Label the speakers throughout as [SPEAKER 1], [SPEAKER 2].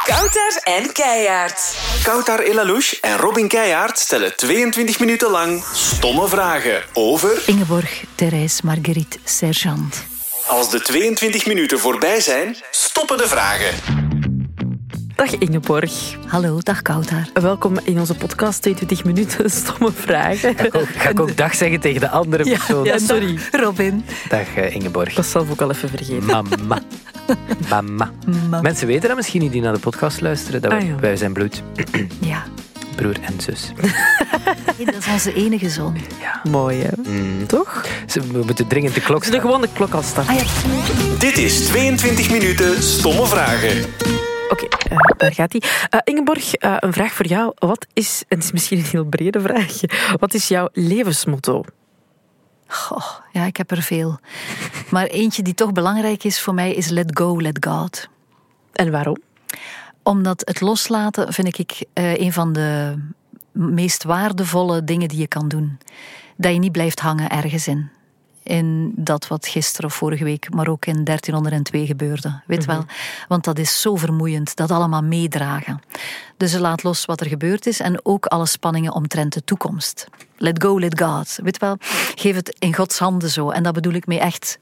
[SPEAKER 1] Kouter en Keijaard.
[SPEAKER 2] Koutar Elalouche en Robin Keijaard stellen 22 minuten lang stomme vragen over...
[SPEAKER 3] Ingeborg, Therese, Marguerite, Sergeant.
[SPEAKER 2] Als de 22 minuten voorbij zijn, stoppen de vragen.
[SPEAKER 4] Dag Ingeborg.
[SPEAKER 3] Hallo, dag Kouter.
[SPEAKER 4] Welkom in onze podcast 22 minuten stomme vragen.
[SPEAKER 5] Ga ik ook, ga ik ook dag zeggen tegen de andere
[SPEAKER 4] Ja,
[SPEAKER 5] persoon.
[SPEAKER 4] ja, sorry.
[SPEAKER 3] Robin.
[SPEAKER 5] Dag eh, Ingeborg.
[SPEAKER 4] Ik was zelf ook al even vergeten.
[SPEAKER 5] Mama. Mama. Mensen weten dat misschien niet die naar de podcast luisteren. Dat wij,
[SPEAKER 4] Ah, ja.
[SPEAKER 5] wij zijn bloed,
[SPEAKER 3] Ja,
[SPEAKER 5] broer en zus.
[SPEAKER 3] hey, dat is onze enige zoon.
[SPEAKER 4] Mooi, hè? Toch?
[SPEAKER 5] Ze- We moeten dringend de klok
[SPEAKER 4] Ze de
[SPEAKER 5] staan.
[SPEAKER 4] gewone klok al starten.
[SPEAKER 3] Ah ja,
[SPEAKER 2] Dit is 22 minuten stomme vragen.
[SPEAKER 4] Oké, eh, daar gaat hij. Ingeborg, eh, een vraag voor jou. Wat is, en het is misschien een heel brede vraag, wat is jouw levensmotto?
[SPEAKER 3] goh, ja, ik heb er veel. Maar eentje die toch belangrijk is voor mij is let go, let God.
[SPEAKER 4] En waarom?
[SPEAKER 3] Omdat het loslaten vind ik eh, een van de meest waardevolle dingen die je kan doen. Dat je niet blijft hangen ergens in. In dat wat gisteren of vorige week, maar ook in 1302 gebeurde.
[SPEAKER 5] Mhm.
[SPEAKER 3] Weet wel? Want dat is zo vermoeiend, dat allemaal meedragen. Dus je laat los wat er gebeurd is en ook alle spanningen omtrent de toekomst. Let go, let God. Weet wel? Geef het in Gods handen zo. En dat bedoel ik mee echt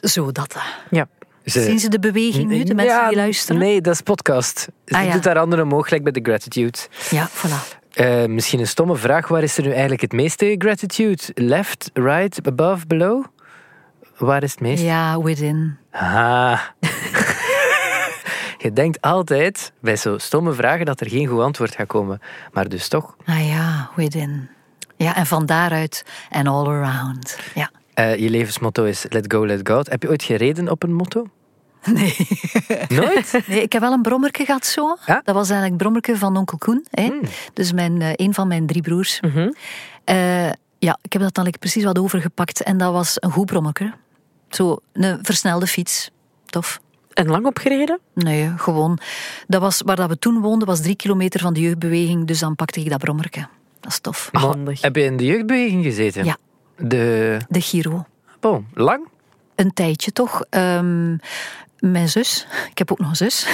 [SPEAKER 3] zo dat. eh.
[SPEAKER 4] Ja.
[SPEAKER 5] Ze-
[SPEAKER 3] Zien ze de beweging nu, de mensen
[SPEAKER 5] Ja,
[SPEAKER 3] die luisteren?
[SPEAKER 5] Nee, dat is podcast. Ze
[SPEAKER 3] Ah, ja.
[SPEAKER 5] doet haar anderen omhoog, gelijk bij de gratitude.
[SPEAKER 3] Ja, voilà.
[SPEAKER 5] Eh, misschien een stomme vraag. Waar is er nu eigenlijk het meeste gratitude? Left, right, above, below? Waar is het meest?
[SPEAKER 3] Ja, within.
[SPEAKER 5] Ah. Je denkt altijd bij zo stomme vragen dat er geen goed antwoord gaat komen. Maar dus toch.
[SPEAKER 3] Ah ja, within. Ja, en van daaruit en all around. Ja.
[SPEAKER 5] Eh, je levensmotto is let go, let God. Heb je ooit gereden op een motto?
[SPEAKER 3] Nee.
[SPEAKER 5] Nooit?
[SPEAKER 3] nee, ik heb wel een brommerke gehad zo.
[SPEAKER 5] Ja? Hmm.
[SPEAKER 3] Dat was eigenlijk het brommerke van onkel Koen. Hè? Dus mijn, eh, een van mijn drie broers.
[SPEAKER 5] Mhm.
[SPEAKER 3] Eh, ja, ik heb dat dan like, precies wat overgepakt. En dat was een goed brommerke. Zo, een versnelde fiets. Tof.
[SPEAKER 4] En lang opgereden?
[SPEAKER 3] Nee, gewoon. Dat was, waar dat we toen woonden was drie kilometer van de jeugdbeweging. Dus dan pakte ik dat brommerke. Dat is tof.
[SPEAKER 5] Maar
[SPEAKER 4] Handig.
[SPEAKER 5] Heb je in de jeugdbeweging gezeten?
[SPEAKER 3] Ja.
[SPEAKER 5] De...
[SPEAKER 3] De Giro.
[SPEAKER 5] Oh, lang?
[SPEAKER 3] een tijdje toch. Ehm, mijn zus, ik heb ook nog een zus,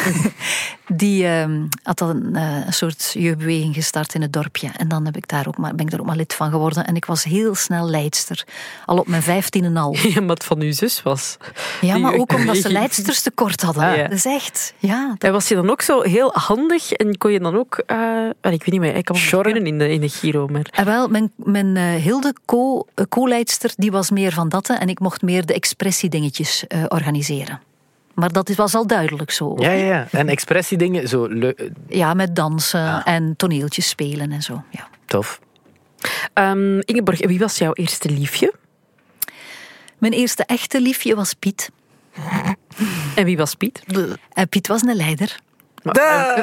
[SPEAKER 3] die ehm, had al een, eh, een soort jeugdbeweging gestart in het dorpje. En dan heb ik daar ook maar, ben ik daar ook maar lid van geworden. En ik was heel snel leidster. Al op mijn vijftiende en al.
[SPEAKER 4] Ja, wat van uw zus was.
[SPEAKER 3] Ja,
[SPEAKER 4] Die
[SPEAKER 3] maar ook omdat ze
[SPEAKER 4] jeugdbeweging.
[SPEAKER 3] leidsters tekort hadden.
[SPEAKER 4] Ah, ja.
[SPEAKER 3] Dat is echt, ja. dat-
[SPEAKER 4] En was je dan ook zo heel handig en kon je dan ook, eh, wel, ik weet niet meer, ik kan me
[SPEAKER 5] Sjorren?
[SPEAKER 4] kunnen in de, in de Giro, maar
[SPEAKER 3] En wel, mijn, mijn eh, Hilde, co- eh, co-leidster, die was meer van dat. hè. En ik mocht meer de expressiedingetjes eh, organiseren. Maar dat was al duidelijk zo.
[SPEAKER 5] Ja, ja, ja. En expressiedingen, zo eh, leu-
[SPEAKER 3] Ja, met dansen en toneeltjes spelen en zo. Ja.
[SPEAKER 5] tof.
[SPEAKER 4] Ehm, Ingeborg, wie was jouw eerste liefje?
[SPEAKER 3] Mijn eerste echte liefje was Piet.
[SPEAKER 4] En wie was Piet?
[SPEAKER 3] En Piet was een leider.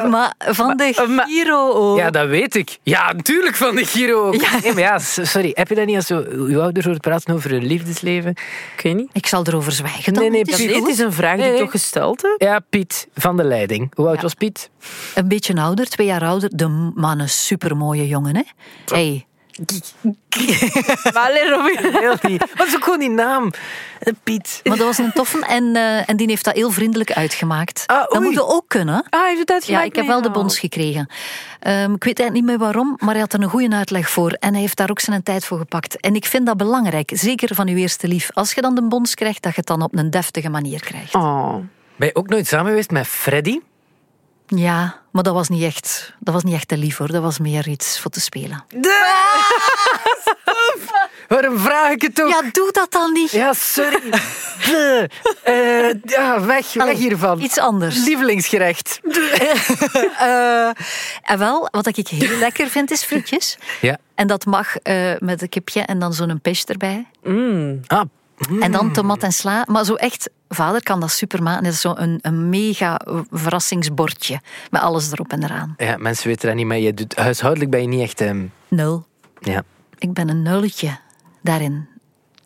[SPEAKER 3] maar van de Giro ook.
[SPEAKER 5] eh, Ja, dat weet ik. Ja, natuurlijk van de Giro. ook. Nee, maar ja, s- sorry. Heb je dat niet als zo, uw ouders hoort praten over hun liefdesleven?
[SPEAKER 4] Ik weet niet.
[SPEAKER 3] Ik zal erover zwijgen. Dan.
[SPEAKER 5] Nee, nee,
[SPEAKER 3] Het is
[SPEAKER 5] Piet.
[SPEAKER 3] goed.
[SPEAKER 4] Dit is een vraag die
[SPEAKER 5] Nee.
[SPEAKER 4] ik toch gesteld heb.
[SPEAKER 5] Ja, Piet van de Leiding. Hoe oud was Piet?
[SPEAKER 3] Een beetje ouder, twee jaar ouder. De man een supermooie jongen, hè? Hey.
[SPEAKER 4] Allee, Robin.
[SPEAKER 5] Heel die. Wat is ook gewoon die naam? Eh, Piet.
[SPEAKER 3] Maar dat was een toffe en, eh, en die heeft dat heel vriendelijk uitgemaakt.
[SPEAKER 5] Ah,
[SPEAKER 3] dat
[SPEAKER 5] oei.
[SPEAKER 3] moet je ook kunnen.
[SPEAKER 4] Ah, heeft het
[SPEAKER 3] Ja,
[SPEAKER 4] uitgemaakt?
[SPEAKER 3] ik heb wel de bons gekregen. Ehm, ik weet eigenlijk niet meer waarom, maar hij had er een goede uitleg voor. En hij heeft daar ook zijn tijd voor gepakt. En ik vind dat belangrijk, zeker van uw eerste lief. Als je dan de bons krijgt, dat je het dan op een deftige manier krijgt.
[SPEAKER 4] Oh.
[SPEAKER 5] Ben je ook nooit samen geweest met Freddy?
[SPEAKER 3] Ja, maar dat was niet echt, dat was niet echt de lief hoor. Dat was meer iets voor te spelen.
[SPEAKER 5] Waarom vraag ik het ook?
[SPEAKER 3] Ja, doe dat dan niet.
[SPEAKER 5] Ja, sorry. Bleh. Eh, ja, weg, weg hiervan.
[SPEAKER 3] Iets anders.
[SPEAKER 5] Lievelingsgerecht.
[SPEAKER 3] Eh, en wel, wat ik heel lekker vind, is frietjes.
[SPEAKER 5] Ja.
[SPEAKER 3] En dat mag eh, met een kipje en dan zo'n pech erbij.
[SPEAKER 5] Ah,
[SPEAKER 3] En dan tomat en sla. Maar zo echt, vader kan dat super maken. Dat is zo'n een, een mega verrassingsbordje. Met alles erop en eraan.
[SPEAKER 5] ja, mensen weten dat niet, maar je doet, huishoudelijk ben je niet echt... ehm,
[SPEAKER 3] Nul.
[SPEAKER 5] ja.
[SPEAKER 3] Ik ben een nulletje daarin.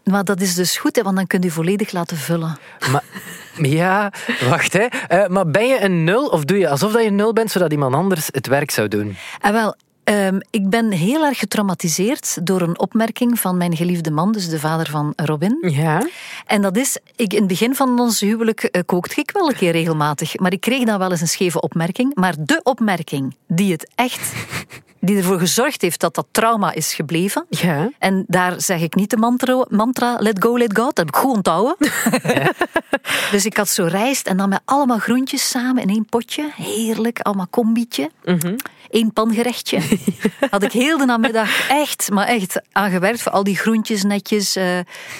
[SPEAKER 3] Maar dat is dus goed, hè, want dan kunt u volledig laten vullen.
[SPEAKER 5] Maar, ja, wacht hè. Eh, maar ben je een nul of doe je alsof dat je een nul bent, zodat iemand anders het werk zou doen?
[SPEAKER 3] En wel, Ehm, ik ben heel erg getraumatiseerd door een opmerking van mijn geliefde man, dus de vader van Robin.
[SPEAKER 4] Ja.
[SPEAKER 3] En dat is, ik, in het begin van ons huwelijk eh, kookte ik wel een keer regelmatig. Maar ik kreeg dan wel eens een scheve opmerking. Maar de opmerking die het echt, die ervoor gezorgd heeft dat dat trauma is gebleven.
[SPEAKER 4] Ja.
[SPEAKER 3] En daar zeg ik niet de mantra, mantra let go, let God. Dat heb ik goed onthouden. dus ik had zo rijst en dan met allemaal groentjes samen in één potje. Heerlijk, allemaal combietje. Eén pangerechtje. had ik heel de namiddag echt, maar echt aangewerkt voor al die groentjes netjes. eh,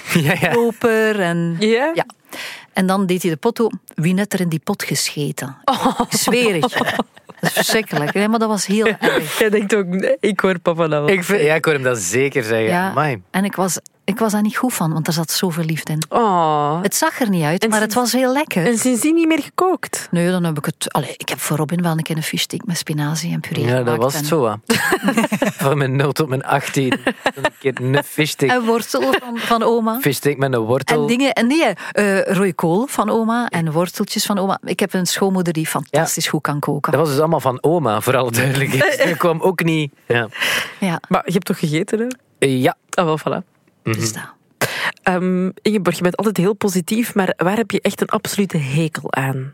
[SPEAKER 5] Ja, ja.
[SPEAKER 3] koper en...
[SPEAKER 4] Ja?
[SPEAKER 3] Ja. En dan deed hij de pot open. Wie net er in die pot gescheten? Ik zweer het je. Dat is verschrikkelijk. Nee, maar dat was heel erg.
[SPEAKER 4] Jij denkt ook, nee, ik hoor papa nou wel.
[SPEAKER 5] Ik, vind- ja, ik hoor hem dat zeker zeggen.
[SPEAKER 3] Ja.
[SPEAKER 5] Amai.
[SPEAKER 3] En ik was, ik was daar niet goed van, want er zat zoveel liefde in.
[SPEAKER 4] Oh.
[SPEAKER 3] Het zag er niet uit,
[SPEAKER 4] En
[SPEAKER 3] maar het
[SPEAKER 4] sinds-
[SPEAKER 3] was heel lekker.
[SPEAKER 4] En sindsdien niet meer gekookt.
[SPEAKER 3] Nee, dan heb ik het... Allee, ik heb voor Robin wel een keer een fishstick met spinazie en puree
[SPEAKER 5] Ja, dat
[SPEAKER 3] gemaakt
[SPEAKER 5] was
[SPEAKER 3] en-
[SPEAKER 5] het zo. wat. Van mijn 0 tot mijn 18. Een keer een fishstick.
[SPEAKER 3] En wortel van, van oma.
[SPEAKER 5] Fishstick met een wortel.
[SPEAKER 3] En dingen, en nee, eh rooikool van oma en worteltjes van oma. Ik heb een schoonmoeder die fantastisch goed kan koken.
[SPEAKER 5] Dat was dus allemaal van oma, voor alle duidelijkheid. Dat kwam ook niet. Ja,
[SPEAKER 3] Ja,
[SPEAKER 4] Maar je hebt toch gegeten, hè?
[SPEAKER 5] Eh, ja.
[SPEAKER 4] Ah, wel, voilà.
[SPEAKER 5] Mhm.
[SPEAKER 3] dus dat.
[SPEAKER 4] Ehm, Ingeborg, je bent altijd heel positief, maar waar heb je echt een absolute hekel aan?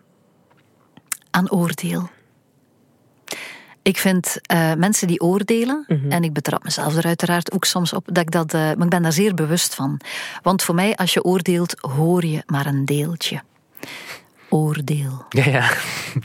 [SPEAKER 3] aan oordeel. Ik vind eh, mensen die oordelen, en ik betrap mezelf er uiteraard ook soms op, dat ik dat, eh, maar ik ben daar zeer bewust van. Want voor mij, als je oordeelt, hoor je maar een deeltje. Oordeel.
[SPEAKER 5] Ja, ja.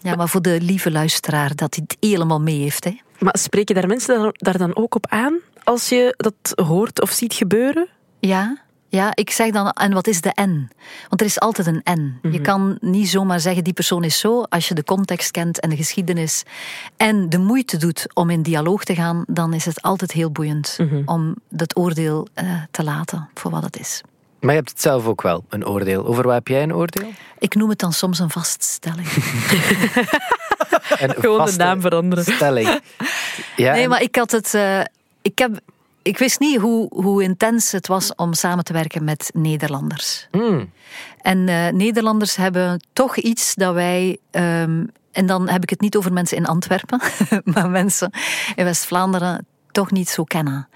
[SPEAKER 3] Ja, maar voor de lieve luisteraar dat hij het helemaal mee heeft. Hè.
[SPEAKER 4] Maar spreken daar mensen daar- daar dan ook op aan als je dat hoort of ziet gebeuren?
[SPEAKER 3] Ja, ja, ik zeg dan, en wat is de N? Want er is altijd een N. Je kan niet zomaar zeggen, die persoon is zo. Als je de context kent en de geschiedenis en de moeite doet om in dialoog te gaan, dan is het altijd heel boeiend om dat oordeel eh, te laten voor wat het is.
[SPEAKER 5] Maar je hebt het zelf ook wel, een oordeel. Over wat heb jij een oordeel?
[SPEAKER 3] Ik noem het dan soms een vaststelling.
[SPEAKER 5] Een
[SPEAKER 4] Gewoon de
[SPEAKER 5] vaste
[SPEAKER 4] naam veranderen.
[SPEAKER 5] Stelling. Ja,
[SPEAKER 3] Nee,
[SPEAKER 5] en-
[SPEAKER 3] maar ik had het. eh, ik, heb, ik wist niet hoe, hoe intens het was om samen te werken met Nederlanders.
[SPEAKER 5] Hmm.
[SPEAKER 3] En eh, Nederlanders hebben toch iets dat wij. ehm, en dan heb ik het niet over mensen in Antwerpen, maar mensen in West-Vlaanderen toch niet zo kennen.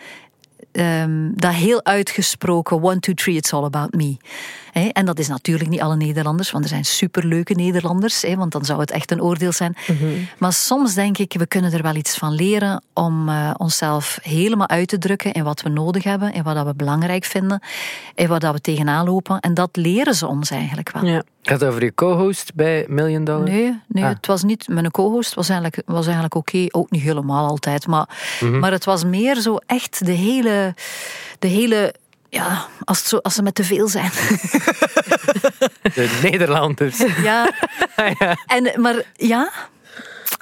[SPEAKER 3] Ehm, dat heel uitgesproken one, two, three, it's all about me. Hè, en dat is natuurlijk niet alle Nederlanders, want er zijn superleuke Nederlanders, hè, want dan zou het echt een oordeel zijn. Maar soms denk ik, we kunnen er wel iets van leren om eh, onszelf helemaal uit te drukken in wat we nodig hebben, in wat dat we belangrijk vinden, in wat dat we tegenaan lopen. En dat leren ze ons eigenlijk wel.
[SPEAKER 4] Ja.
[SPEAKER 5] Gaat het over je co-host bij Million Dollar?
[SPEAKER 3] Nee, nee
[SPEAKER 5] Ah.
[SPEAKER 3] het was niet. Mijn co-host was eigenlijk, was eigenlijk oké. Ook niet helemaal altijd. Maar,
[SPEAKER 5] Mhm.
[SPEAKER 3] maar het was meer zo echt de hele. De hele ja, als, het zo, als ze met te veel zijn.
[SPEAKER 5] De Nederlanders.
[SPEAKER 3] ja.
[SPEAKER 5] Ah,
[SPEAKER 3] En, maar ja,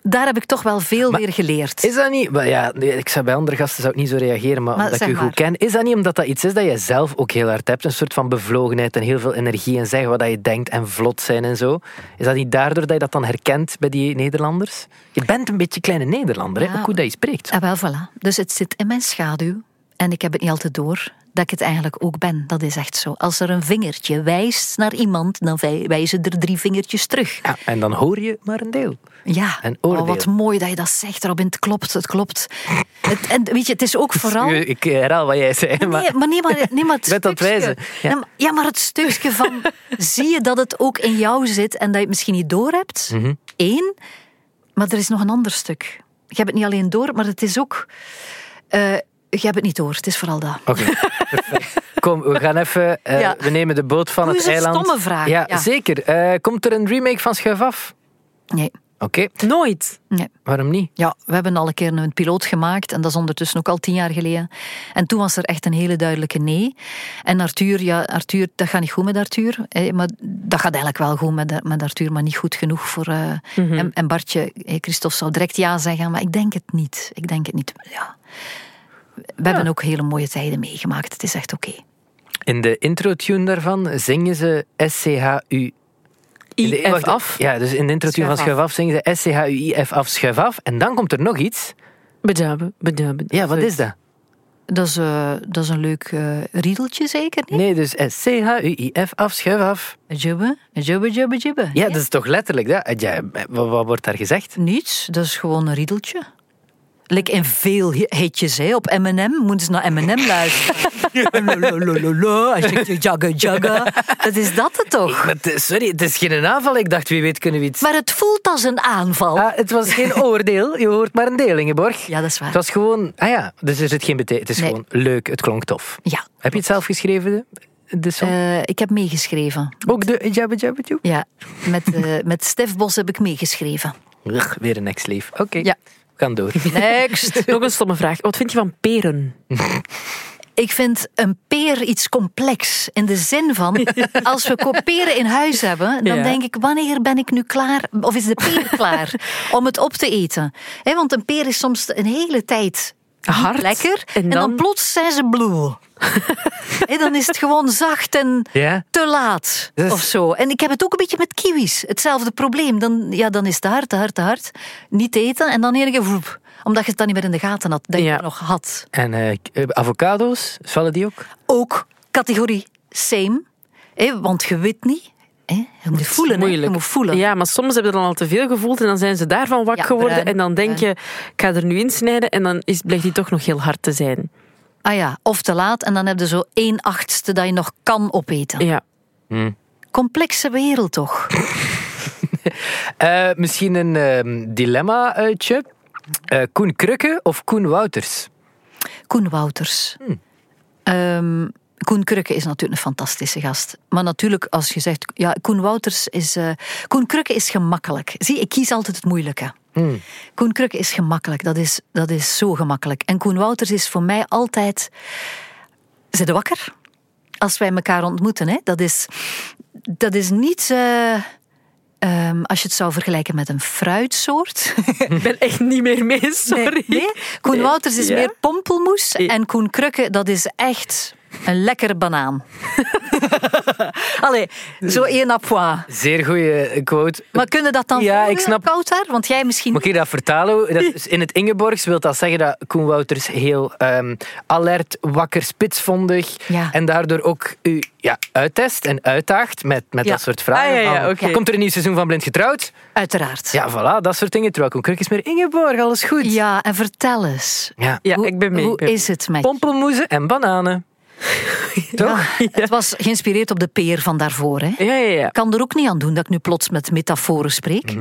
[SPEAKER 3] daar heb ik toch wel veel weer geleerd.
[SPEAKER 5] Is dat niet... maar Ja, nee, ik zou bij andere gasten zou ik niet zo reageren, maar,
[SPEAKER 3] Maar
[SPEAKER 5] omdat ik
[SPEAKER 3] zeg
[SPEAKER 5] je goed
[SPEAKER 3] maar.
[SPEAKER 5] ken. Is dat niet omdat dat iets is dat je zelf ook heel hard hebt? Een soort van bevlogenheid en heel veel energie en zeggen wat dat je denkt en vlot zijn en zo. Is dat niet daardoor dat je dat dan herkent bij die Nederlanders? Je bent een beetje kleine Nederlander, hè?
[SPEAKER 3] Ja.
[SPEAKER 5] ook hoe dat je spreekt.
[SPEAKER 3] Ah, wel, voilà. Dus het zit in mijn schaduw. En ik heb het niet altijd door dat ik het eigenlijk ook ben. Dat is echt zo. Als er een vingertje wijst naar iemand, dan wij- wijzen er drie vingertjes terug.
[SPEAKER 5] Ja, en dan hoor je maar een deel.
[SPEAKER 3] Ja,
[SPEAKER 5] En oordeel.
[SPEAKER 3] Oh, wat mooi dat je dat zegt, Robin. Het klopt, het klopt. Het, en weet je, het is ook vooral...
[SPEAKER 5] Nu, Ik herhaal wat jij zei, maar...
[SPEAKER 3] Nee, maar nee, maar, nee, maar het
[SPEAKER 5] Ik ben het aan
[SPEAKER 3] stukje-
[SPEAKER 5] het wijzen, ja.
[SPEAKER 3] Nee, maar- ja, maar het stukje van... zie je dat het ook in jou zit en dat je het misschien niet doorhebt?
[SPEAKER 5] Mhm.
[SPEAKER 3] Eén. Maar er is nog een ander stuk. Je hebt het niet alleen door, maar het is ook... eh, je hebt het niet door, het is vooral dat.
[SPEAKER 5] Oké, perfect. Kom, we gaan even... eh,
[SPEAKER 3] Ja.
[SPEAKER 5] We nemen de boot van
[SPEAKER 3] Hoe
[SPEAKER 5] het
[SPEAKER 3] is een
[SPEAKER 5] eiland.
[SPEAKER 3] stomme vraag,
[SPEAKER 5] Ja,
[SPEAKER 3] ja.
[SPEAKER 5] zeker. Eh, komt er een remake van Schuif Af?
[SPEAKER 3] Nee,
[SPEAKER 5] Oké,
[SPEAKER 4] Nooit.
[SPEAKER 3] nee.
[SPEAKER 5] waarom niet?
[SPEAKER 3] Ja, we hebben al een keer een piloot gemaakt en dat is ondertussen ook al tien jaar geleden. En toen was er echt een hele duidelijke nee. En Arthur, ja, Arthur, dat gaat niet goed met Arthur. hè, maar dat gaat eigenlijk wel goed met, met Arthur, maar niet goed genoeg voor. eh, en, en Bartje, eh, Christophe zou direct ja zeggen, maar ik denk het niet. Ik denk het niet. Ja. We hebben ook hele mooie tijden meegemaakt. Het is echt oké.
[SPEAKER 5] In de intro-tune daarvan zingen ze SCHU. In de-
[SPEAKER 4] IF
[SPEAKER 5] wacht,
[SPEAKER 4] af.
[SPEAKER 5] Ja, dus in de intro-tune van
[SPEAKER 4] Schuif af.
[SPEAKER 5] Schuif Af zingen ze SCHUIF af, Schuif Af. En dan komt er nog iets.
[SPEAKER 4] Bedaben, bedaben.
[SPEAKER 5] Ja, wat is dat?
[SPEAKER 3] Dat, is, eh, dat is een leuk eh, riedeltje, zeker niet?
[SPEAKER 5] Nee, dus SCHUIF af, Schuif Af.
[SPEAKER 3] Jubbe, jubbe, jubbe, jubbe.
[SPEAKER 5] Ja, dat is toch letterlijk dat? Ja, wat, wat wordt daar gezegd?
[SPEAKER 3] Niets, dat is gewoon een riedeltje. Like in veel hi- hitjes hè. op M&M moeten ze naar M&M luisteren. Als je jagga jagga. Dat is dat het toch?
[SPEAKER 5] Maar het is- sorry, het is geen aanval. Ik dacht, wie weet kunnen we iets...
[SPEAKER 3] Maar het voelt als een aanval.
[SPEAKER 5] Ah, het was geen oordeel. Je hoort maar een deel, Ingeborg.
[SPEAKER 3] Ja, dat is waar.
[SPEAKER 5] Het was gewoon... Ah ja, dus er zit geen betekenis. Het is
[SPEAKER 3] Nee.
[SPEAKER 5] gewoon leuk. Het klonk tof.
[SPEAKER 3] Ja,
[SPEAKER 5] Heb je het zelf geschreven? De, de song?
[SPEAKER 3] eh, ik heb meegeschreven.
[SPEAKER 5] Ook de Jabba Jabba Joe?
[SPEAKER 3] Ja, met, eh, met Stef Bos heb ik meegeschreven.
[SPEAKER 5] Ugh, weer een ex-leef. Oké,
[SPEAKER 3] Ja.
[SPEAKER 5] we gaan door.
[SPEAKER 3] Next.
[SPEAKER 4] Nog een stomme vraag. Wat vind je van peren?
[SPEAKER 3] Ik vind een peer iets complex. In de zin van, als we ko- peren in huis hebben, dan
[SPEAKER 4] Ja.
[SPEAKER 3] denk ik, wanneer ben ik nu klaar? Of is de peer klaar om het op te eten? Hè, want een peer is soms een hele tijd niet
[SPEAKER 4] Hard.
[SPEAKER 3] lekker.
[SPEAKER 4] En
[SPEAKER 3] En dan,
[SPEAKER 4] dan-
[SPEAKER 3] plots zijn ze blue. Hè, dan is het gewoon zacht en
[SPEAKER 5] Ja?
[SPEAKER 3] te laat
[SPEAKER 5] Dus-
[SPEAKER 3] of zo. En ik heb het ook een beetje met kiwis. Hetzelfde probleem. Dan, ja, dan is het te hard, te hard, te hard. Niet eten en dan in één keer vroep. Omdat je het dan niet meer in de gaten had, dat je
[SPEAKER 4] Ja.
[SPEAKER 3] het nog had.
[SPEAKER 5] En eh, k- eh, avocado's, vallen die ook?
[SPEAKER 3] Ook categorie same. Hè, want je weet niet. Hè, je moet voelen. hè. Je
[SPEAKER 4] Moeilijk.
[SPEAKER 3] moet voelen.
[SPEAKER 4] Ja, maar soms hebben ze dan al te veel gevoeld en dan zijn ze daarvan wak
[SPEAKER 3] Ja,
[SPEAKER 4] geworden.
[SPEAKER 3] bruin,
[SPEAKER 4] en dan denk
[SPEAKER 3] bruin.
[SPEAKER 4] je, ik ga er nu insnijden en dan is, blijkt die toch nog heel hard te zijn.
[SPEAKER 3] Ah ja, of te laat en dan heb je zo één achtste dat je nog kan opeten.
[SPEAKER 4] Ja.
[SPEAKER 3] Complexe wereld toch?
[SPEAKER 5] Eh, misschien een ehm, dilemma-uitje. Eh, Koen Krukke of Koen Wouters?
[SPEAKER 3] Koen Wouters. Ehm, Koen Krukke is natuurlijk een fantastische gast. Maar natuurlijk, als je zegt... Ja, Koen Wouters is... eh, Koen Krukke is gemakkelijk. Zie, ik kies altijd het moeilijke. Koen Krukke is gemakkelijk. Dat is, dat is zo gemakkelijk. En Koen Wouters is voor mij altijd... Zit je wakker? Als wij elkaar ontmoeten, hè? Dat, is, dat is niet... eh, ehm, als je het zou vergelijken met een fruitsoort...
[SPEAKER 4] Ik ben echt niet meer mee, sorry.
[SPEAKER 3] Nee, Koen
[SPEAKER 4] Nee.
[SPEAKER 3] Wouters is
[SPEAKER 4] Ja.
[SPEAKER 3] meer pompelmoes
[SPEAKER 4] Ja.
[SPEAKER 3] en Koen Krukke, dat is echt een lekkere banaan. Allee, zo één à point.
[SPEAKER 5] Zeer goede quote.
[SPEAKER 3] Maar kunnen dat dan
[SPEAKER 5] Ja,
[SPEAKER 3] volgen,
[SPEAKER 5] ik snap-
[SPEAKER 3] Kouter? Want jij misschien...
[SPEAKER 5] Moet ik dat vertalen? Dat is- in het Ingeborgs wil dat zeggen dat Koen Wouters heel ehm, alert, wakker, spitsvondig
[SPEAKER 3] Ja.
[SPEAKER 5] en daardoor ook u ja, uittest en uitdaagt met, met
[SPEAKER 3] Ja.
[SPEAKER 5] dat soort vragen.
[SPEAKER 4] Ah, ja, ja,
[SPEAKER 5] Van,
[SPEAKER 4] oké.
[SPEAKER 5] Komt er een nieuw seizoen van Blind Getrouwd?
[SPEAKER 3] Uiteraard.
[SPEAKER 5] Ja, voilà, dat soort dingen. Terwijl Koen Krukke is meer Ingeborg, alles goed.
[SPEAKER 3] Ja, en vertel eens.
[SPEAKER 5] Ja.
[SPEAKER 4] Ja,
[SPEAKER 3] hoe
[SPEAKER 4] ik ben mee.
[SPEAKER 3] hoe
[SPEAKER 4] Ik ben-
[SPEAKER 3] is het met
[SPEAKER 5] Pompelmoezen en bananen. Toch?
[SPEAKER 3] Ja, Het was geïnspireerd op de peer van daarvoor. Hè.
[SPEAKER 4] Ja, ja, ja.
[SPEAKER 3] Ik kan er ook niet aan doen dat ik nu plots met metaforen
[SPEAKER 4] Mhm.
[SPEAKER 3] spreek.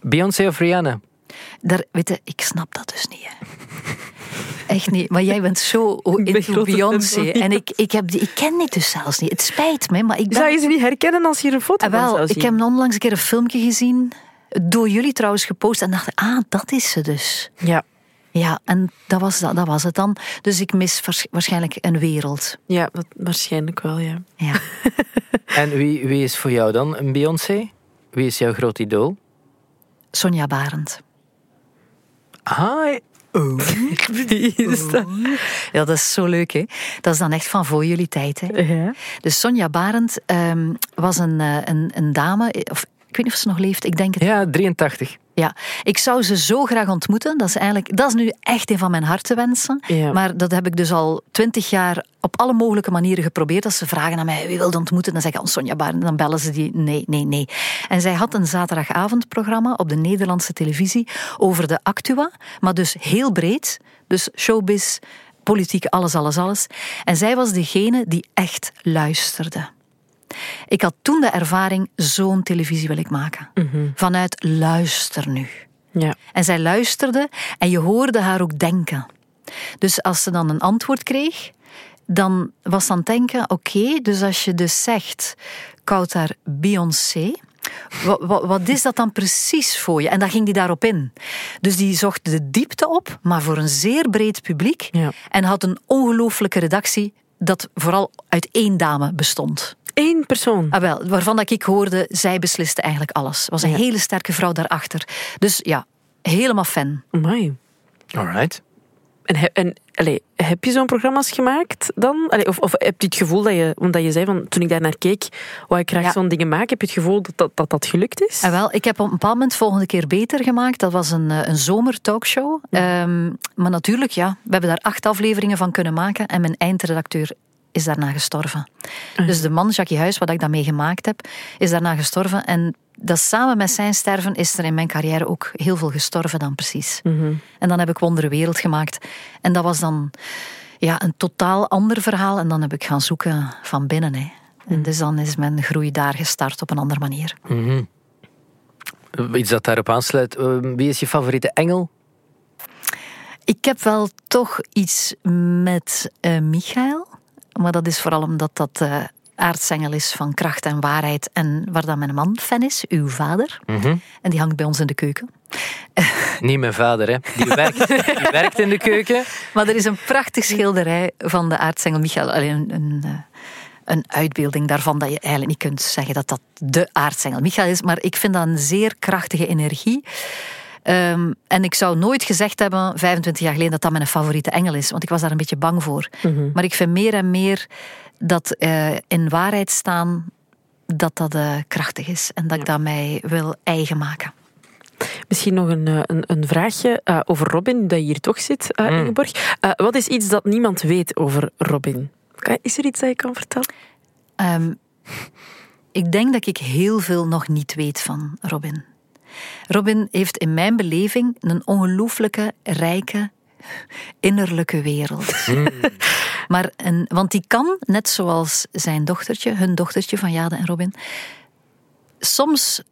[SPEAKER 5] Beyoncé of Rihanna?
[SPEAKER 3] Daar, weet je, ik snap dat dus niet. Hè. Echt niet. Maar jij bent zo into
[SPEAKER 4] grote fan van
[SPEAKER 3] Beyoncé.
[SPEAKER 4] Beyoncé.
[SPEAKER 3] En ik, ik, heb die, ik ken dit dus zelfs niet. Het spijt me, maar ik ben...
[SPEAKER 4] Zou je ze niet herkennen als je er een foto
[SPEAKER 3] Ah,
[SPEAKER 4] van
[SPEAKER 3] wel,
[SPEAKER 4] zou zien?
[SPEAKER 3] ik heb onlangs een keer een filmpje gezien. Door jullie trouwens gepost. En dacht ik, ah, dat is ze dus.
[SPEAKER 4] Ja,
[SPEAKER 3] Ja, en dat was, dat, dat was het dan. Dus ik mis waarsch- waarschijnlijk een wereld.
[SPEAKER 4] ja dat, waarschijnlijk wel, ja.
[SPEAKER 3] Ja.
[SPEAKER 5] En wie, wie is voor jou dan een Beyoncé? Wie is jouw groot idool?
[SPEAKER 3] Sonja Barend.
[SPEAKER 5] Ah,
[SPEAKER 4] Die is dat.
[SPEAKER 3] Ja, dat is zo leuk, hè? Dat is dan echt van voor jullie tijd, hè?
[SPEAKER 4] Ja.
[SPEAKER 3] Dus Sonja Barend ehm, was een, eh, een, een dame... eh, Of, ik weet niet of ze nog leeft, ik denk het
[SPEAKER 5] ja, 83.
[SPEAKER 3] Ja, ik zou ze zo graag ontmoeten. Dat is, eigenlijk, dat is nu echt een van mijn hartewensen.
[SPEAKER 4] Ja.
[SPEAKER 3] Maar dat heb ik dus al twintig jaar op alle mogelijke manieren geprobeerd. Als ze vragen aan mij, wie wil je ontmoeten? Dan zeg ik, oh, Sonja Baarden. Dan bellen ze die, nee, nee, nee. En zij had een zaterdagavondprogramma op de Nederlandse televisie over de Actua. Maar dus heel breed. Dus showbiz, politiek, alles, alles, alles. En zij was degene die echt luisterde. Ik had toen de ervaring, zo'n televisie wil ik maken. Vanuit luister nu.
[SPEAKER 4] Ja.
[SPEAKER 3] En zij luisterde en je hoorde haar ook denken. Dus als ze dan een antwoord kreeg, dan was dan denken, oké, dus als je dus zegt, Kautar Beyoncé, wa- wa- wat, is dat dan precies voor je? En dan ging die daarop in. Dus die zocht de diepte op, maar voor een zeer breed publiek.
[SPEAKER 4] Ja.
[SPEAKER 3] En had een ongelooflijke redactie dat vooral uit één dame bestond.
[SPEAKER 4] Eén persoon.
[SPEAKER 3] Ah, wel, waarvan dat ik hoorde, zij besliste eigenlijk alles. Was een
[SPEAKER 4] Ja.
[SPEAKER 3] hele sterke vrouw daarachter. Dus ja, helemaal fan.
[SPEAKER 4] Amai.
[SPEAKER 5] Alright.
[SPEAKER 4] En, he- en allee, heb je zo'n programma's gemaakt dan? Allee, of, of heb je het gevoel dat je, omdat je zei van toen ik daar naar keek, wou ik graag
[SPEAKER 3] Ja.
[SPEAKER 4] zo'n dingen maken, heb je het gevoel dat dat, dat, dat gelukt is?
[SPEAKER 3] Ah, wel, ik heb op een bepaald moment volgende keer beter gemaakt. Dat was een, eh, een zomertalkshow. Ehm maar natuurlijk, ja, we hebben daar acht afleveringen van kunnen maken. En mijn eindredacteur is daarna gestorven. Dus de man, Jackie Huis, wat ik dan meegemaakt heb, is daarna gestorven. En dat samen met zijn sterven is er in mijn carrière ook heel veel gestorven dan precies. En dan heb ik Wondere Wereld gemaakt. En dat was dan ja, een totaal ander verhaal. En dan heb ik gaan zoeken van binnen. Hè. En dus dan is mijn groei daar gestart op een andere manier.
[SPEAKER 5] Iets dat daarop aansluit. eh, Wie is je favoriete engel?
[SPEAKER 3] Ik heb wel toch iets met eh, Michael. Maar dat is vooral omdat dat eh aartsengel is van kracht en waarheid. En waar dan mijn man fan is, uw vader. En die hangt bij ons in de keuken.
[SPEAKER 5] Niet mijn vader, hè. Die werkt, die werkt in de keuken.
[SPEAKER 3] Maar er is een prachtig schilderij van de aartsengel Michael. Alleen een, een, eh, een uitbeelding daarvan dat je eigenlijk niet kunt zeggen dat dat de aartsengel Michael is. Maar ik vind dat een zeer krachtige energie. Ehm, en ik zou nooit gezegd hebben, 25 jaar geleden, dat dat mijn favoriete engel is. Want ik was daar een beetje bang voor. Maar ik vind meer en meer dat eh, in waarheid staan, dat dat eh, krachtig is. En dat ik dat mij wil eigen maken.
[SPEAKER 4] Misschien nog een, eh, een, een vraagje eh, over Robin, nu dat je hier toch zit, eh, Ingeborg. Eh, wat is iets dat niemand weet over Robin? Kan- Is er iets dat je kan vertellen?
[SPEAKER 3] Ehm, ik denk dat ik heel veel nog niet weet van Robin. Robin heeft in mijn beleving een ongelooflijke, rijke, innerlijke wereld. maar een, want die kan, net zoals zijn dochtertje, hun dochtertje van Jade en Robin, soms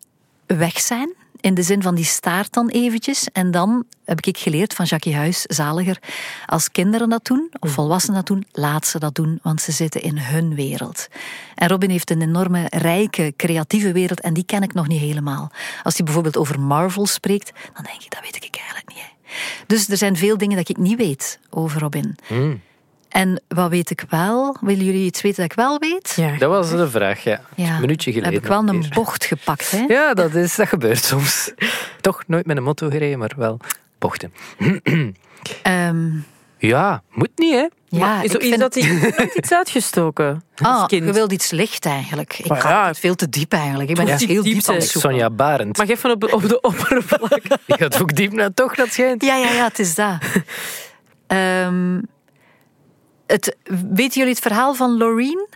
[SPEAKER 3] weg zijn. In de zin van die staart dan eventjes. En dan heb ik geleerd van Jackie Huis, zaliger. Als kinderen dat doen,
[SPEAKER 5] Mm.
[SPEAKER 3] of volwassenen dat doen, laat ze dat doen. Want ze zitten in hun wereld. En Robin heeft een enorme, rijke, creatieve wereld. En die ken ik nog niet helemaal. Als hij bijvoorbeeld over Marvel spreekt, dan denk je, dat weet ik eigenlijk niet. hè. Dus er zijn veel dingen dat ik niet weet over Robin.
[SPEAKER 5] Mm.
[SPEAKER 3] En wat weet ik wel? Willen jullie iets weten dat ik wel weet?
[SPEAKER 5] Dat was de vraag, ja.
[SPEAKER 3] Ja.
[SPEAKER 5] Een minuutje geleden.
[SPEAKER 3] Heb ik wel een
[SPEAKER 5] ongeveer.
[SPEAKER 3] bocht gepakt, hè?
[SPEAKER 5] Ja, dat, is, dat gebeurt soms. Toch nooit met een motto gereden, maar wel bochten.
[SPEAKER 3] Ehm,
[SPEAKER 5] Ja, moet niet, hè.
[SPEAKER 3] ja,
[SPEAKER 4] is
[SPEAKER 3] ik
[SPEAKER 4] er iets
[SPEAKER 3] vind-
[SPEAKER 4] dat hij nooit iets uitgestoken
[SPEAKER 3] Ah,
[SPEAKER 4] als kind?
[SPEAKER 3] je wilt iets licht eigenlijk. Ik
[SPEAKER 4] Maar
[SPEAKER 3] ga
[SPEAKER 4] Ah, ja,
[SPEAKER 3] altijd veel te diep eigenlijk. Ik ben
[SPEAKER 4] Ja.
[SPEAKER 3] echt heel
[SPEAKER 4] Diep
[SPEAKER 3] diep aan het
[SPEAKER 4] zijn.
[SPEAKER 3] zoeken.
[SPEAKER 5] Sonja Barend.
[SPEAKER 4] Mag even op, op de oppervlak.
[SPEAKER 5] Die gaat ook diep naar toch, dat schijnt.
[SPEAKER 3] Ja, ja, ja, het is dat. Ehm, het, weten jullie het verhaal van Loreen?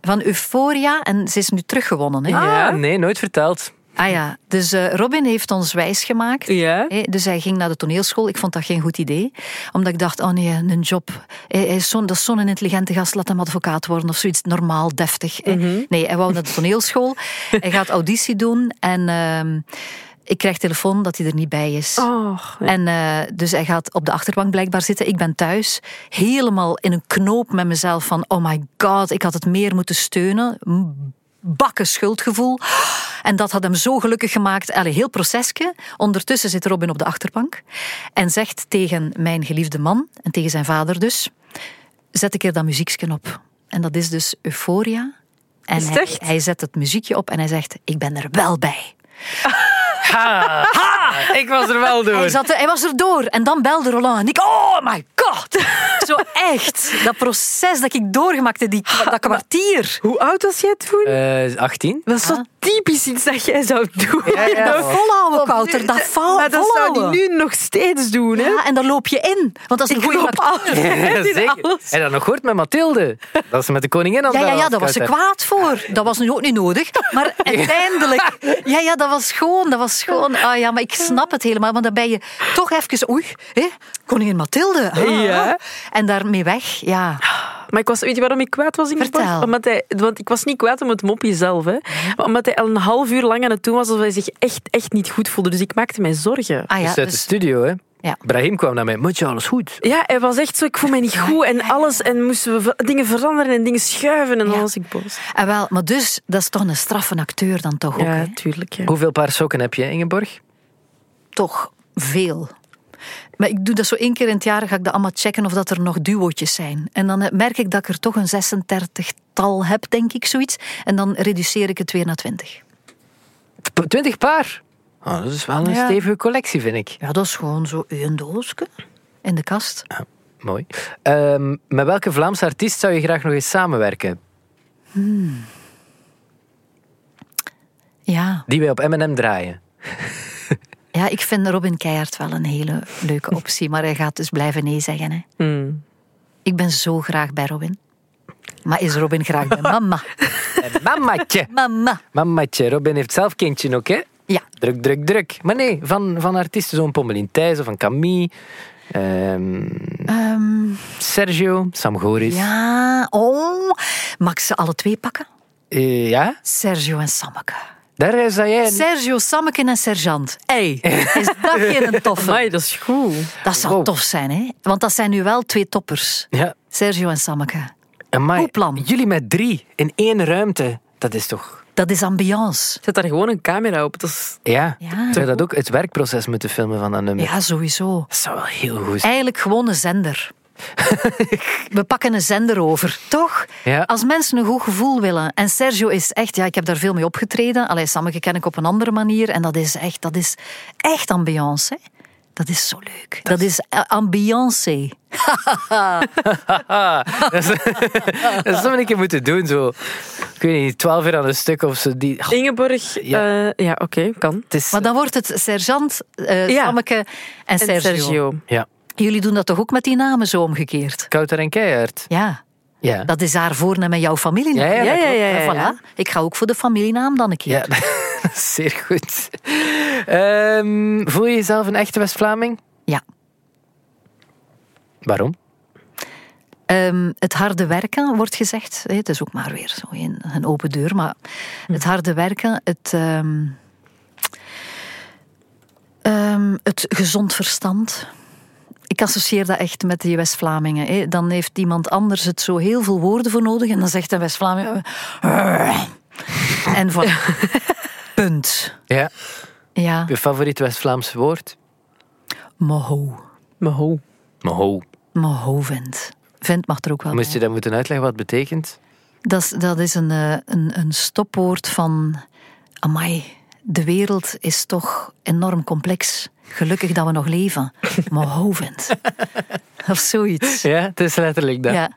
[SPEAKER 3] Van Euphoria. En ze is nu teruggewonnen. Hè?
[SPEAKER 5] Ja, nee, nooit verteld.
[SPEAKER 3] Ah ja, dus eh, Robin heeft ons wijsgemaakt.
[SPEAKER 4] Ja.
[SPEAKER 3] Hè, Dus hij ging naar de toneelschool. Ik vond dat geen goed idee. Omdat ik dacht, oh nee, een job. Hij, hij is zo'n- dat is zo'n intelligente gast, laat hem advocaat worden. Of zoiets normaal, deftig. hè. Nee, hij wou naar de toneelschool. hij gaat auditie doen. En ehm, ik krijg telefoon dat hij er niet bij is.
[SPEAKER 4] Oh, nee.
[SPEAKER 3] En eh, dus hij gaat op de achterbank blijkbaar zitten. Ik ben thuis helemaal in een knoop met mezelf van... Oh my god, ik had het meer moeten steunen. M- Bakken schuldgevoel. En dat had hem zo gelukkig gemaakt. Allee, heel proceske. Ondertussen zit Robin op de achterbank. En zegt tegen mijn geliefde man, en tegen zijn vader dus... Zet een keer dat muziekje op. En dat is dus Euphoria. En
[SPEAKER 4] het
[SPEAKER 3] hij,
[SPEAKER 4] echt?
[SPEAKER 3] hij zet het muziekje op en hij zegt... Ik ben er wel bij.
[SPEAKER 5] Ik was er wel door.
[SPEAKER 3] Hij, zat er- hij was erdoor. En dan belde Roland. En ik, oh my god. Zo echt. Dat proces dat ik doorgemaakt heb, die, dat kwartier.
[SPEAKER 4] Hoe oud was jij toen? Ah.
[SPEAKER 5] Eh, 18?
[SPEAKER 4] dat is zo typisch iets dat jij zou doen.
[SPEAKER 3] Dat volhouden, Kouter. Dat val,
[SPEAKER 4] maar dat zou
[SPEAKER 3] volhouden.
[SPEAKER 4] die nu nog steeds doen, hè?
[SPEAKER 3] Oh, Ja, en dan loop je in. Want dat is een
[SPEAKER 4] Ik
[SPEAKER 3] goede
[SPEAKER 4] loop af.
[SPEAKER 3] acteur.
[SPEAKER 5] Ja, zeker.
[SPEAKER 4] alles.
[SPEAKER 5] En dan nog hoort met Mathilde. Dat ze met de koningin aan
[SPEAKER 3] Ja,
[SPEAKER 5] de
[SPEAKER 3] ja, ja, daar
[SPEAKER 5] hand
[SPEAKER 3] was ze
[SPEAKER 5] uit-
[SPEAKER 3] kwaad voor. Dat was nu ook niet nodig. Maar uiteindelijk... Ja, ja, dat was gewoon, dat was gewoon... Ah ja, maar ik snap het helemaal. Want dan ben je toch even... Oei, hè, koningin Mathilde. ah, ah.
[SPEAKER 4] Ja.
[SPEAKER 3] En daarmee weg, ja.
[SPEAKER 4] Maar ik was, weet je waarom ik kwaad was in
[SPEAKER 3] Vertel.
[SPEAKER 4] Omdat hij, want ik was niet kwaad om het mopje zelf, hè. Maar omdat hij al een half uur lang aan het doen was alsof hij zich echt, echt niet goed voelde. Dus ik maakte mij zorgen.
[SPEAKER 3] Ah ja,
[SPEAKER 5] Dus uit de
[SPEAKER 3] dus-
[SPEAKER 5] studio, hè.
[SPEAKER 3] Ja.
[SPEAKER 5] Brahim kwam naar mij. Moet je alles goed?
[SPEAKER 4] Ja, hij was echt zo, ik voel mij
[SPEAKER 3] Ah,
[SPEAKER 4] niet goed en alles. En moesten we ver- dingen veranderen en dingen schuiven en dan
[SPEAKER 3] Ja.
[SPEAKER 4] was ik boos.
[SPEAKER 3] Ah, wel, maar dus, dat is toch een straffe acteur dan toch ook, hè?
[SPEAKER 4] Ja, tuurlijk. Ja.
[SPEAKER 5] Hoeveel paar sokken heb je, Ingeborg?
[SPEAKER 3] toch veel. Maar ik doe dat zo één keer in het jaar, ga ik dat allemaal checken of dat er nog duootjes zijn. En dan eh, merk ik dat ik er toch een 36-tal heb, denk ik, zoiets. En dan reduceer ik het weer naar 20.
[SPEAKER 5] Tw- Twintig paar? Oh, dat is wel een
[SPEAKER 3] Ja.
[SPEAKER 5] stevige collectie, vind ik.
[SPEAKER 3] Ja, dat is gewoon zo een doosje in de kast.
[SPEAKER 5] Mooi. Ehm, met welke Vlaamse artiest zou je graag nog eens samenwerken?
[SPEAKER 3] Ja.
[SPEAKER 5] Die wij op M&M draaien.
[SPEAKER 3] ja, ik vind Robin Keijert wel een hele Hmm. leuke optie. Maar hij gaat dus blijven nee zeggen. Hè. Ik ben zo graag bij Robin. Maar is Robin graag bij mama?
[SPEAKER 5] En Mammatje.
[SPEAKER 3] Mama.
[SPEAKER 5] Mammatje. Robin heeft zelf kindje ook, hè?
[SPEAKER 3] Ja.
[SPEAKER 5] Druk, druk, druk. Maar nee, van, van artiesten zo'n Pommelien Thijs of van Camille. ehm,
[SPEAKER 3] Ehm,
[SPEAKER 5] Sergio, Sam Goris. Ja.
[SPEAKER 3] ja, oh. Mag ik ze alle twee pakken?
[SPEAKER 5] Eh, ja,
[SPEAKER 3] Sergio en Sammeke.
[SPEAKER 5] daar zou jij...
[SPEAKER 3] Sergio, Sammeke en Sergeant. Hey, is dat geen toffe?
[SPEAKER 4] Amai, dat is goed.
[SPEAKER 3] Dat zou
[SPEAKER 5] Wow.
[SPEAKER 3] tof zijn, hè? Want dat zijn nu wel twee toppers.
[SPEAKER 5] Ja,
[SPEAKER 3] Sergio en Sammeke.
[SPEAKER 5] amai.
[SPEAKER 3] Goed plan.
[SPEAKER 5] Jullie met drie in één ruimte. Dat is toch...
[SPEAKER 3] Dat is ambiance.
[SPEAKER 4] Zet daar gewoon een camera op. Dat is...
[SPEAKER 5] Ja.
[SPEAKER 3] Ja.
[SPEAKER 5] Zou je dat ook het werkproces moeten filmen van dat nummer?
[SPEAKER 3] Ja, sowieso.
[SPEAKER 5] Dat zou wel heel goed zijn.
[SPEAKER 3] Eigenlijk gewoon een zender. We pakken een zender over, toch?
[SPEAKER 5] Ja.
[SPEAKER 3] Als mensen een goed gevoel willen. En Sergio is echt, ja, ik heb daar veel mee opgetreden. Allee, Sammeke ken ik op een andere manier. En dat is echt, dat is echt ambiance. hè. Dat is zo leuk. Dat is eh, ambiance.
[SPEAKER 5] Dat zou ik een keer moeten doen, zo... Ik weet niet, twaalf uur aan een stuk of zo. Die... Goh,
[SPEAKER 4] Ingeborg, eh, ja,
[SPEAKER 5] Ja.
[SPEAKER 4] oké, kan.
[SPEAKER 5] het is...
[SPEAKER 3] Maar dan wordt het sergeant, eh
[SPEAKER 4] Ja.
[SPEAKER 3] Sammeke en
[SPEAKER 4] En
[SPEAKER 3] Sergio.
[SPEAKER 5] Ja,
[SPEAKER 3] Jullie doen dat toch ook met die namen zo omgekeerd?
[SPEAKER 5] Kouter en Keihard.
[SPEAKER 3] Ja,
[SPEAKER 5] Ja.
[SPEAKER 3] dat is haar voornaam en jouw familienaam.
[SPEAKER 5] Ja, ja,
[SPEAKER 4] Ja, ja, ja. ja,
[SPEAKER 3] En
[SPEAKER 4] ja.
[SPEAKER 3] voilà, ik ga ook voor de familienaam dan een keer.
[SPEAKER 5] Ja, dat is zeer goed. Ehm, voel je jezelf een echte West-Vlaming?
[SPEAKER 3] Ja.
[SPEAKER 5] Waarom?
[SPEAKER 3] Ehm, het harde werken wordt gezegd. hè, Het is ook maar weer zo een, een open deur. Maar het harde werken, het, ehm, ehm, het gezond verstand. Ik associeer dat echt met die West-Vlamingen. hè. Dan heeft iemand anders het zo heel veel woorden voor nodig. En dan zegt een West-Vlaming... "Arr." En van... Punt.
[SPEAKER 5] Ja.
[SPEAKER 3] Ja,
[SPEAKER 5] Je favoriet West-Vlaams woord?
[SPEAKER 3] moho.
[SPEAKER 4] Maar hoe?
[SPEAKER 5] Moho.
[SPEAKER 3] Moho vindt. Vindt mag er ook wel
[SPEAKER 5] Moest
[SPEAKER 3] bij.
[SPEAKER 5] je dat moeten uitleggen wat het betekent?
[SPEAKER 3] Dat is, dat is een, eh, een, een stopwoord van. Amai, de wereld is toch enorm complex. Gelukkig dat we nog leven. Maar hovend. Of zoiets.
[SPEAKER 5] Ja, het is letterlijk dat.
[SPEAKER 3] Ja.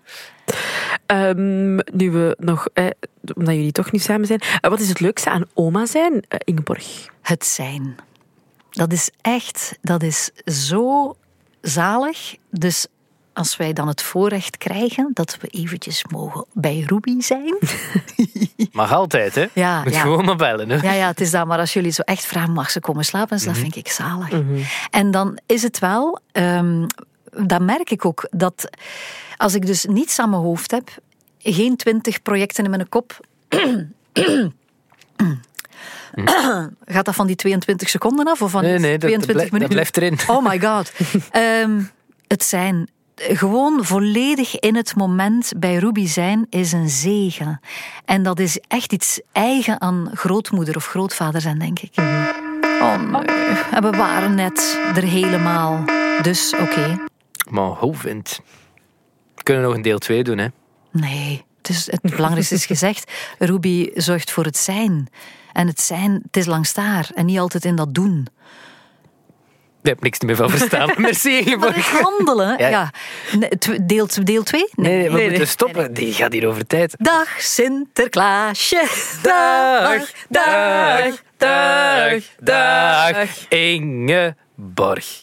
[SPEAKER 4] Ehm, nu we nog, eh, omdat jullie toch nu samen zijn, eh, wat is het leukste aan oma zijn, eh, Ingeborg?
[SPEAKER 3] Het zijn. Dat is echt, dat is zo zalig. Dus als wij dan het voorrecht krijgen dat we eventjes mogen bij Ruby zijn.
[SPEAKER 5] Mag altijd, hè?
[SPEAKER 3] Ja,
[SPEAKER 5] Moet
[SPEAKER 3] ja.
[SPEAKER 5] gewoon maar bellen, hè?
[SPEAKER 3] Ja, ja, het is dat. Maar als jullie zo echt vragen, mag ze komen slapen? Dus dat vind ik zalig. En dan is het wel, ehm dat merk ik ook, dat als ik dus niets aan mijn hoofd heb, geen twintig projecten in mijn kop, gaat dat van die 22 seconden af? Of van
[SPEAKER 5] Nee,
[SPEAKER 3] die
[SPEAKER 5] nee, dat,
[SPEAKER 3] 22
[SPEAKER 5] dat
[SPEAKER 3] minuten?
[SPEAKER 5] blijft erin.
[SPEAKER 3] Oh my god. Ehm, het zijn. eh, Gewoon volledig in het moment bij Ruby zijn is een zegen. En dat is echt iets eigen aan grootmoeder of grootvader zijn, denk ik.
[SPEAKER 5] Mhm.
[SPEAKER 3] Oh nee. En we waren net er helemaal. Dus oké.
[SPEAKER 5] Moho vindt. We kunnen nog een deel 2 doen, hè?
[SPEAKER 3] Nee. Het, is, het belangrijkste is gezegd. Ruby zorgt voor het zijn. En het zijn, het is langs daar. En niet altijd in dat doen.
[SPEAKER 5] Ik heb niks meer van verstaan. Merci,
[SPEAKER 3] Maar
[SPEAKER 5] Ingeborg.
[SPEAKER 3] het handelen. Ja.
[SPEAKER 5] Ja.
[SPEAKER 3] Nee, tw- Deel 2? Deel twee?
[SPEAKER 5] Nee, nee, we moeten stoppen. Die gaat hier over tijd.
[SPEAKER 3] Dag Sinterklaasje.
[SPEAKER 5] Dag, dag, dag,
[SPEAKER 4] dag,
[SPEAKER 5] dag, Ingeborg.